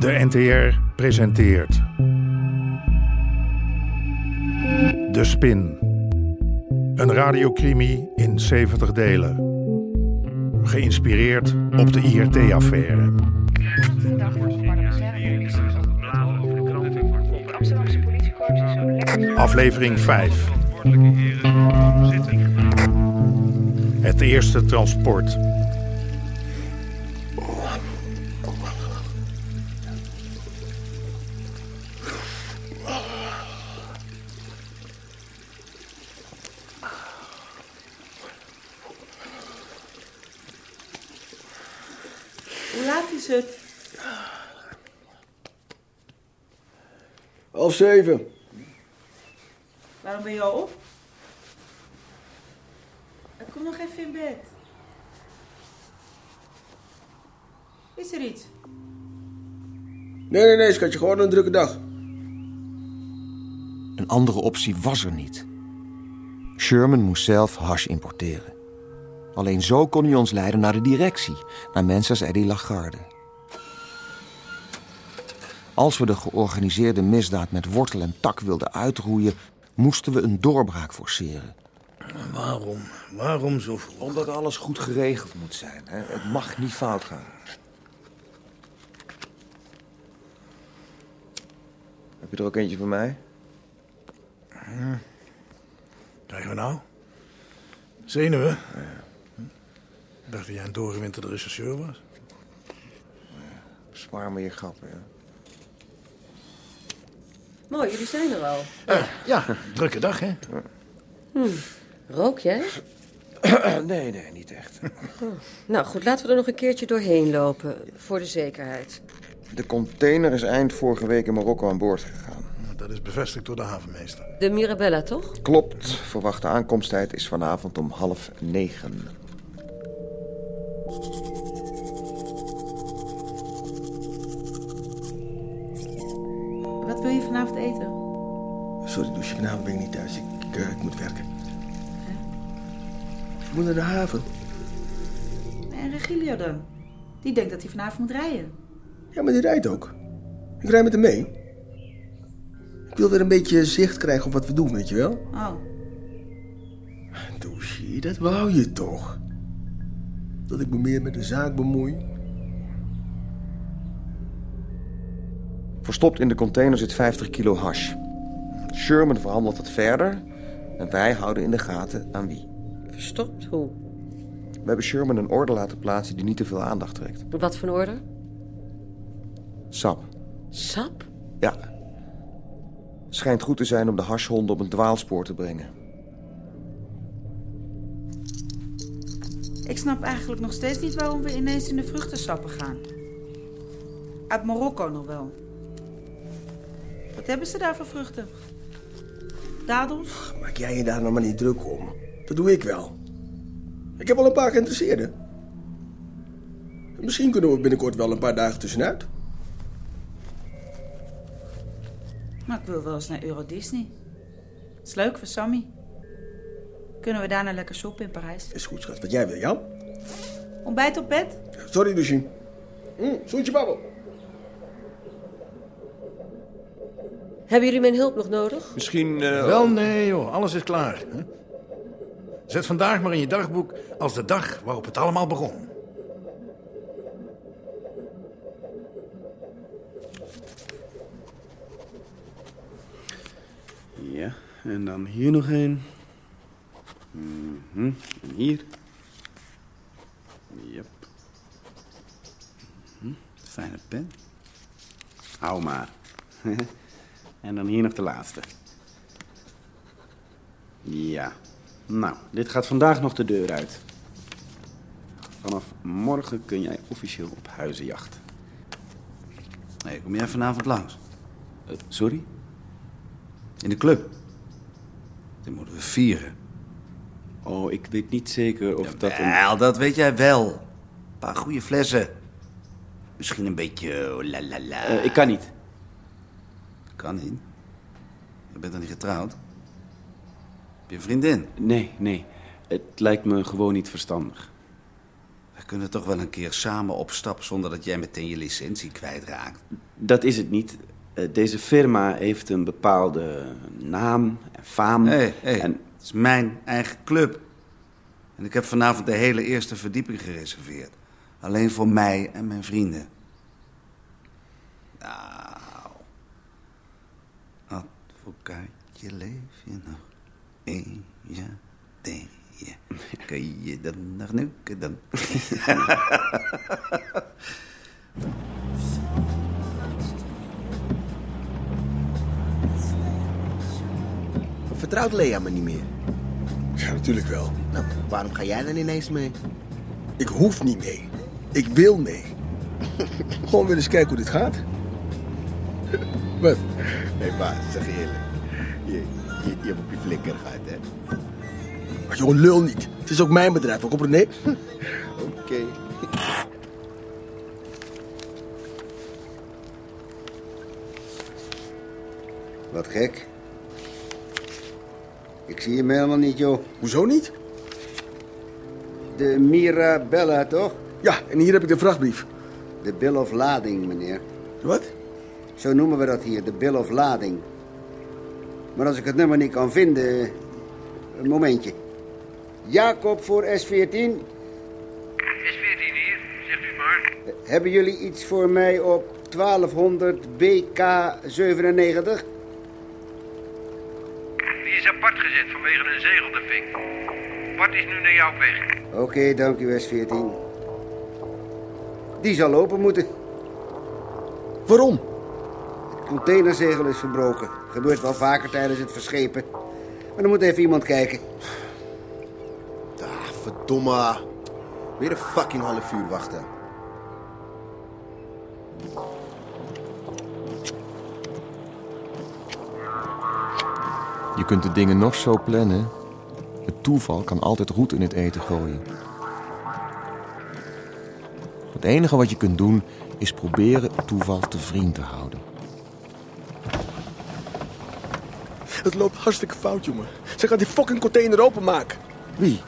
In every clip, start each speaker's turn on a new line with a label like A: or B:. A: De NTR presenteert. De Spin. Een radiocrimi in 70 delen. Geïnspireerd op de IRT-affaire. Aflevering 5. Het eerste transport.
B: Hoe laat is het?
C: Half zeven.
B: Waarom ben je al op? Eh, Kom nog even in bed. Is er iets?
C: Nee, nee, nee, schatje. Gewoon een drukke dag.
D: Een andere optie was er niet. Sherman moest zelf hash importeren. Alleen zo kon hij ons leiden naar de directie, naar mensen als Eddie Lagarde. Als we de georganiseerde misdaad met wortel en tak wilden uitroeien, moesten we een doorbraak forceren.
E: Waarom? Waarom zo vroeg?
D: Omdat alles goed geregeld moet zijn. Het mag niet fout gaan. Heb je er ook eentje voor mij?
E: Krijgen we nou? Zenuwen? Dacht dat jij een doorgewinterde rechercheur was?
D: Spaar me je grappen, ja.
F: Mooi, jullie zijn er al.
E: Ja, drukke dag, hè?
F: Rook jij?
D: Nee, nee, niet echt.
F: Nou goed, laten we er nog een keertje doorheen lopen. Voor de zekerheid.
D: De container is eind vorige week in Marokko aan boord gegaan.
E: Dat is bevestigd door de havenmeester.
F: De Mirabella, toch?
D: Klopt, verwachte aankomsttijd is vanavond om half negen.
B: Wat wil je vanavond eten?
C: Sorry, douche. Vanavond ben ik niet thuis. Ik, eh, ik moet werken. Ik moet naar de haven.
B: En Regilio dan? Die denkt dat hij vanavond moet rijden.
C: Ja, maar die rijdt ook. Ik rijd met hem mee. Ik wil weer een beetje zicht krijgen op wat we doen, weet je wel?
B: Oh,
C: Douche, dat wou je toch? Dat ik me meer met de zaak bemoei.
D: Verstopt in de container zit 50 kilo hash. Sherman verhandelt het verder en wij houden in de gaten aan wie.
F: Verstopt? Hoe?
D: We hebben Sherman een order laten plaatsen die niet te veel aandacht trekt.
F: Wat voor orde?
D: Sap.
F: Sap?
D: Ja. Schijnt goed te zijn om de hashhonden op een dwaalspoor te brengen.
B: ik snap eigenlijk nog steeds niet waarom we ineens in de vruchtensappen gaan. Uit Marokko nog wel. Wat hebben ze daar voor vruchten? Dadels?
C: Maak jij je daar nou maar niet druk om. Dat doe ik wel. Ik heb al een paar geïnteresseerden. Misschien kunnen we binnenkort wel een paar dagen tussenuit.
B: Maar ik wil wel eens naar Euro Disney. Is leuk voor Sammy. Kunnen we daarna lekker shoppen in Parijs?
C: Is goed, schat. Wat jij wil, Jan?
B: Ontbijt op bed?
C: Sorry, Lucie. Mm, zoetje babbel.
F: Hebben jullie mijn hulp nog nodig?
D: Misschien.
E: Wel, nee, joh. Alles is klaar. Hè? Zet vandaag maar in je dagboek als de dag waarop het allemaal begon.
G: Ja, en dan hier nog een. Mhm, En hier. Yep. Mhm, Fijne pen. Hou maar. en dan hier nog de laatste. Ja. Nou, dit gaat vandaag nog de deur uit. Vanaf morgen kun jij officieel op huizenjacht. Hé, kom jij vanavond langs? Eh, sorry? In de club.
H: Dit moeten we vieren.
G: Oh, ik weet niet zeker of dat een...
H: Wel, dat weet jij wel. Een paar goede flessen. Misschien een beetje oh, la la la.
G: Eh, ik kan niet.
H: Kan niet. Je bent dan niet getrouwd? Heb je een vriendin?
G: Nee, nee. Het lijkt me gewoon niet verstandig. We kunnen toch wel een keer samen op stap zonder dat jij meteen je licentie kwijtraakt.
I: Dat is het niet. Eh, Deze firma heeft een bepaalde naam en faam.
G: Hé, hey, hey,
I: En
G: het is mijn eigen club. En ik heb vanavond de hele eerste verdieping gereserveerd. Alleen voor mij en mijn vrienden. Nou, advocaatje, leef je nog? Eén, ja, ding, ja. Kun je dan nog nuken dan?
H: Vertrouwt Lea me niet meer?
C: Ja, natuurlijk wel.
H: Nou, waarom ga jij dan ineens mee?
C: Ik hoef niet mee. Ik wil mee. Gewoon weer eens kijken hoe dit gaat. Wat?
H: Hé, hey, pa, zeg je eerlijk. Je, je, je hebt op je flikker gehad, hè?
C: Maar jongen, lul niet. Het is ook mijn bedrijf, ook op René.
H: Oké. Wat gek. Ik zie hem helemaal niet, joh.
C: Hoezo niet?
H: De Mirabella, toch?
C: Ja, en hier heb ik de vrachtbrief.
H: De bill of lading, meneer.
C: Wat?
H: Zo noemen we dat hier, de bill of lading. Maar als ik het nummer niet kan vinden... Een momentje. Jacob voor S14.
J: S14 hier, zegt u maar.
H: Hebben jullie iets voor mij op 1200 BK97?
J: Die is apart gezet vanwege een zegeldefect. Bart is nu naar jou op weg.
H: Oké, dank u S14. Die zal open moeten.
C: Waarom?
H: Het containerzegel is verbroken. Gebeurt wel vaker tijdens het verschepen. Maar er moet even iemand kijken.
D: Ah, verdomme. Weer een fucking half uur wachten. Je kunt de dingen nog zo plannen. Het toeval kan altijd roet in het eten gooien. Het enige wat je kunt doen is proberen het toeval te vriend te houden.
C: Het loopt hartstikke fout, jongen. Ze gaat die fucking container openmaken.
D: Wie?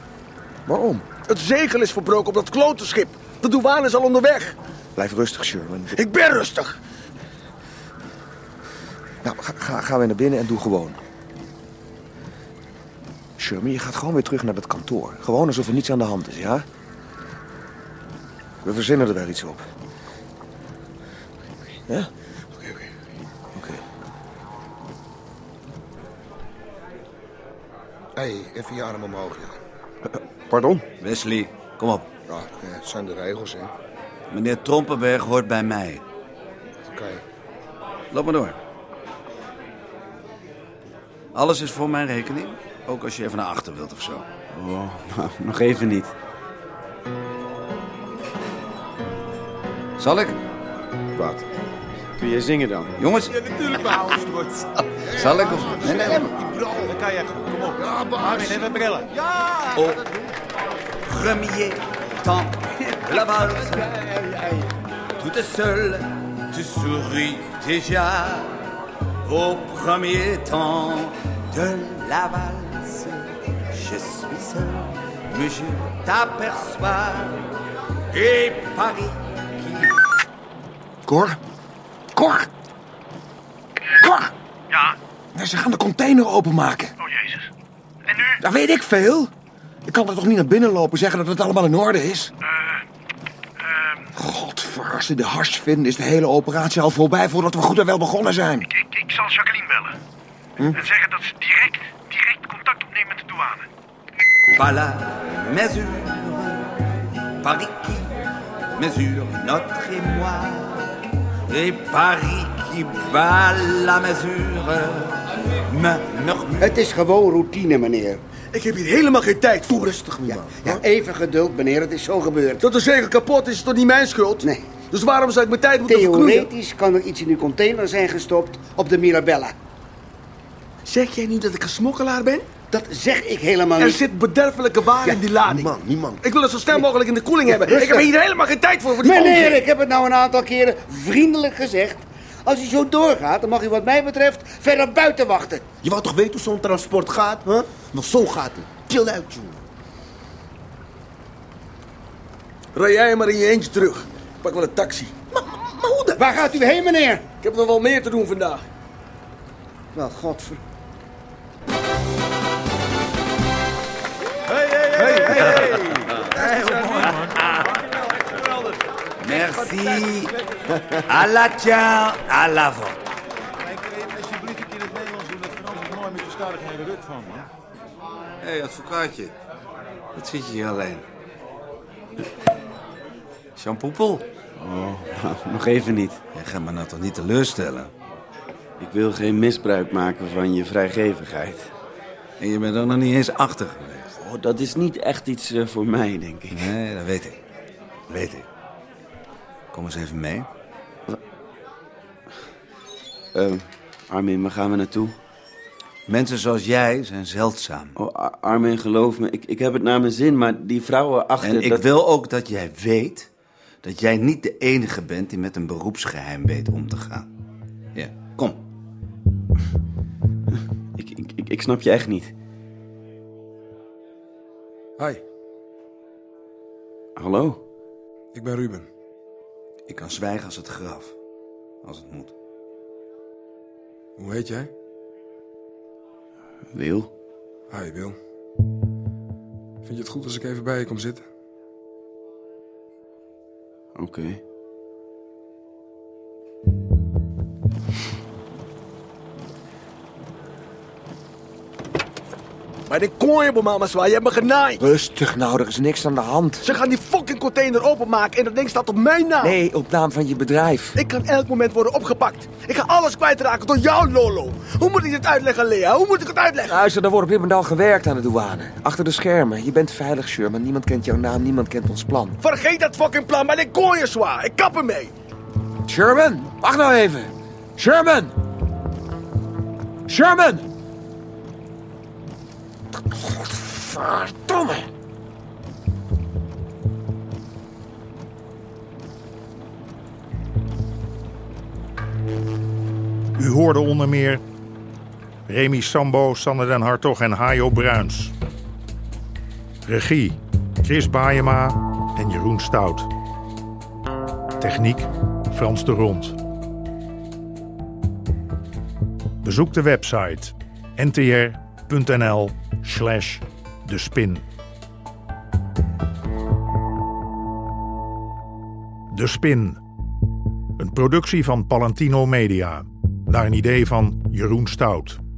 D: Waarom?
C: Het zegel is verbroken op dat klote schip. De douane is al onderweg.
D: Blijf rustig, Sherman.
C: Ik ben rustig.
D: Nou, ga, ga, ga weer naar binnen en doe gewoon. Sherman, je gaat gewoon weer terug naar dat kantoor. Gewoon alsof er niets aan de hand is, ja? We verzinnen er wel iets op. Ja?
C: Oké, oké.
D: Oké.
H: Hé, hey, even je arm omhoog, ja.
D: Eh, Pardon?
G: Wesley, kom op.
H: Ja, eh, het zijn de regels, hè.
G: Meneer Trompenberg hoort bij mij.
H: Oké.
G: Loop maar door. Alles is voor mijn rekening. Ook als je even naar achter wilt of zo.
I: nou, nog even niet.
G: Zal ik?
H: Wat?
I: Kun je zingen dan?
G: Jongens? Ja, natuurlijk, maar Zal ik of... Nee, nee, nee. Dat kan jij goed. Kom op. Ja, Marvin, even brillen. Ja! Au premier temps, la valse. Toute seule, tu souris déjà. Au premier temps de la valse, je suis seul, mais je t'aperçois. Et Paris qui
D: Cor? Cor? Cor?
J: Ja?
D: Nou, Ze gaan de container openmaken.
J: Oh jezus. En nu?
D: Dat weet ik veel. Ik kan er toch niet naar binnen lopen zeggen dat het allemaal in orde is?
J: Eh, ehm.
D: Godverse, de harsvin is de hele operatie al voorbij voordat we goed en wel begonnen zijn.
J: Ik, ik zal Jacqueline bellen. En zeggen dat ze direct, direct contact opnemen met de douane.
G: Pas la mesure, Paris qui mesure notre émoi. Et Paris qui bat la mesure, me murmure.
H: Het is gewoon routine, meneer.
C: Ik heb hier helemaal geen tijd voor.
H: Rustig, man. Ja, ja, even geduld, meneer. Het is zo gebeurd.
C: Dat de zegel kapot is, is toch niet mijn schuld?
H: Nee.
C: Dus waarom zou ik mijn tijd moeten verknoeien?
H: Theoretisch kan er iets in uw container zijn gestopt op de Mirabella.
C: Zeg jij niet dat ik een smokkelaar ben?
H: Dat zeg ik helemaal
C: Er
H: niet.
C: zit bederfelijke waar in die lading.
H: Ah, niemand, niemand.
C: Ik wil het zo snel mogelijk in de koeling hebben.
H: rustig.
C: Ik heb hier helemaal geen tijd voor. voor die
H: Meneer,
C: onzin.
H: ik heb het nou een aantal keren vriendelijk gezegd. Als u zo doorgaat, dan mag u wat mij betreft verder buiten wachten.
K: Je wou toch weten hoe zo'n transport gaat, hè? Maar zo gaat het. Chill uit, jongen.
C: Rij jij maar in je eentje terug. Ik pak wel een taxi.
H: Maar hoe dan? Waar gaat u heen, meneer?
C: Ik heb nog wel meer te doen vandaag.
H: Wel, godver...
G: Hey, hey, hey, hey, hey. Merci. À la tiens, à l'avant.
L: Alsjeblieft een keer het Nederlands doen, dat Frans is mooi met je stadigheden ruk van, man.
G: Hé, hey, advocaatje. Wat zit je hier alleen? Jean Poepel?
I: Oh, nou, nog even niet.
G: Jij gaat me nou toch niet teleurstellen?
I: Ik wil geen misbruik maken van je vrijgevigheid.
G: En je bent ook nog niet eens achter geweest.
I: Oh, dat is niet echt iets eh, voor mij, denk ik.
G: Nee, dat weet ik. Dat weet ik. Kom eens even mee.
I: Ehm, Armin, waar gaan we naartoe?
G: Mensen zoals jij zijn zeldzaam.
I: Oh, Ar- Armin, geloof me, ik, ik heb het naar mijn zin, maar die vrouwen achter...
G: En ik
I: dat-
G: wil ook dat jij weet dat jij niet de enige bent die met een beroepsgeheim weet om te gaan. Ja, kom.
I: Ik, ik, ik, ik snap je echt niet.
E: Hi,
I: Hallo?
E: ik ben Ruben.
G: Ik kan zwijgen als het graf. Als het moet.
E: Hoe heet jij?
I: Wil?
E: Hi, Ah, Wil. Vind je het goed als ik even bij je kom zitten?
I: Oké.
C: Maar de kooi op mama zwaai, je hebt me genaaid.
D: Rustig nou, er is niks aan de hand.
C: Ze gaan die fucking container openmaken en dat ding staat op mijn naam.
D: Nee, op naam van je bedrijf.
C: Ik kan elk moment worden opgepakt. Ik ga alles kwijtraken door jou, Lolo. Hoe moet ik dit uitleggen, Lea? Hoe moet ik het
H: Ah.
C: uitleggen?
D: Luister, er wordt op dit moment al gewerkt aan de douane. Achter de schermen. Je bent veilig, Sherman. Niemand kent jouw naam, niemand kent ons plan.
C: Vergeet dat fucking plan, maar ik kooi je zwaar. Ik kap ermee.
D: Sherman, wacht nou even. Sherman! Sherman! Godverdomme!
A: U hoorde onder meer Remy Sambo, Sander den Hartog en Hajo Bruins. Regie Chris Baayema en Jeroen Stout. Techniek Frans de Rond. Bezoek de website ntr.nl slash de spin. De Spin. Een productie van Palantino Media. Naar een idee van Jeroen Stout.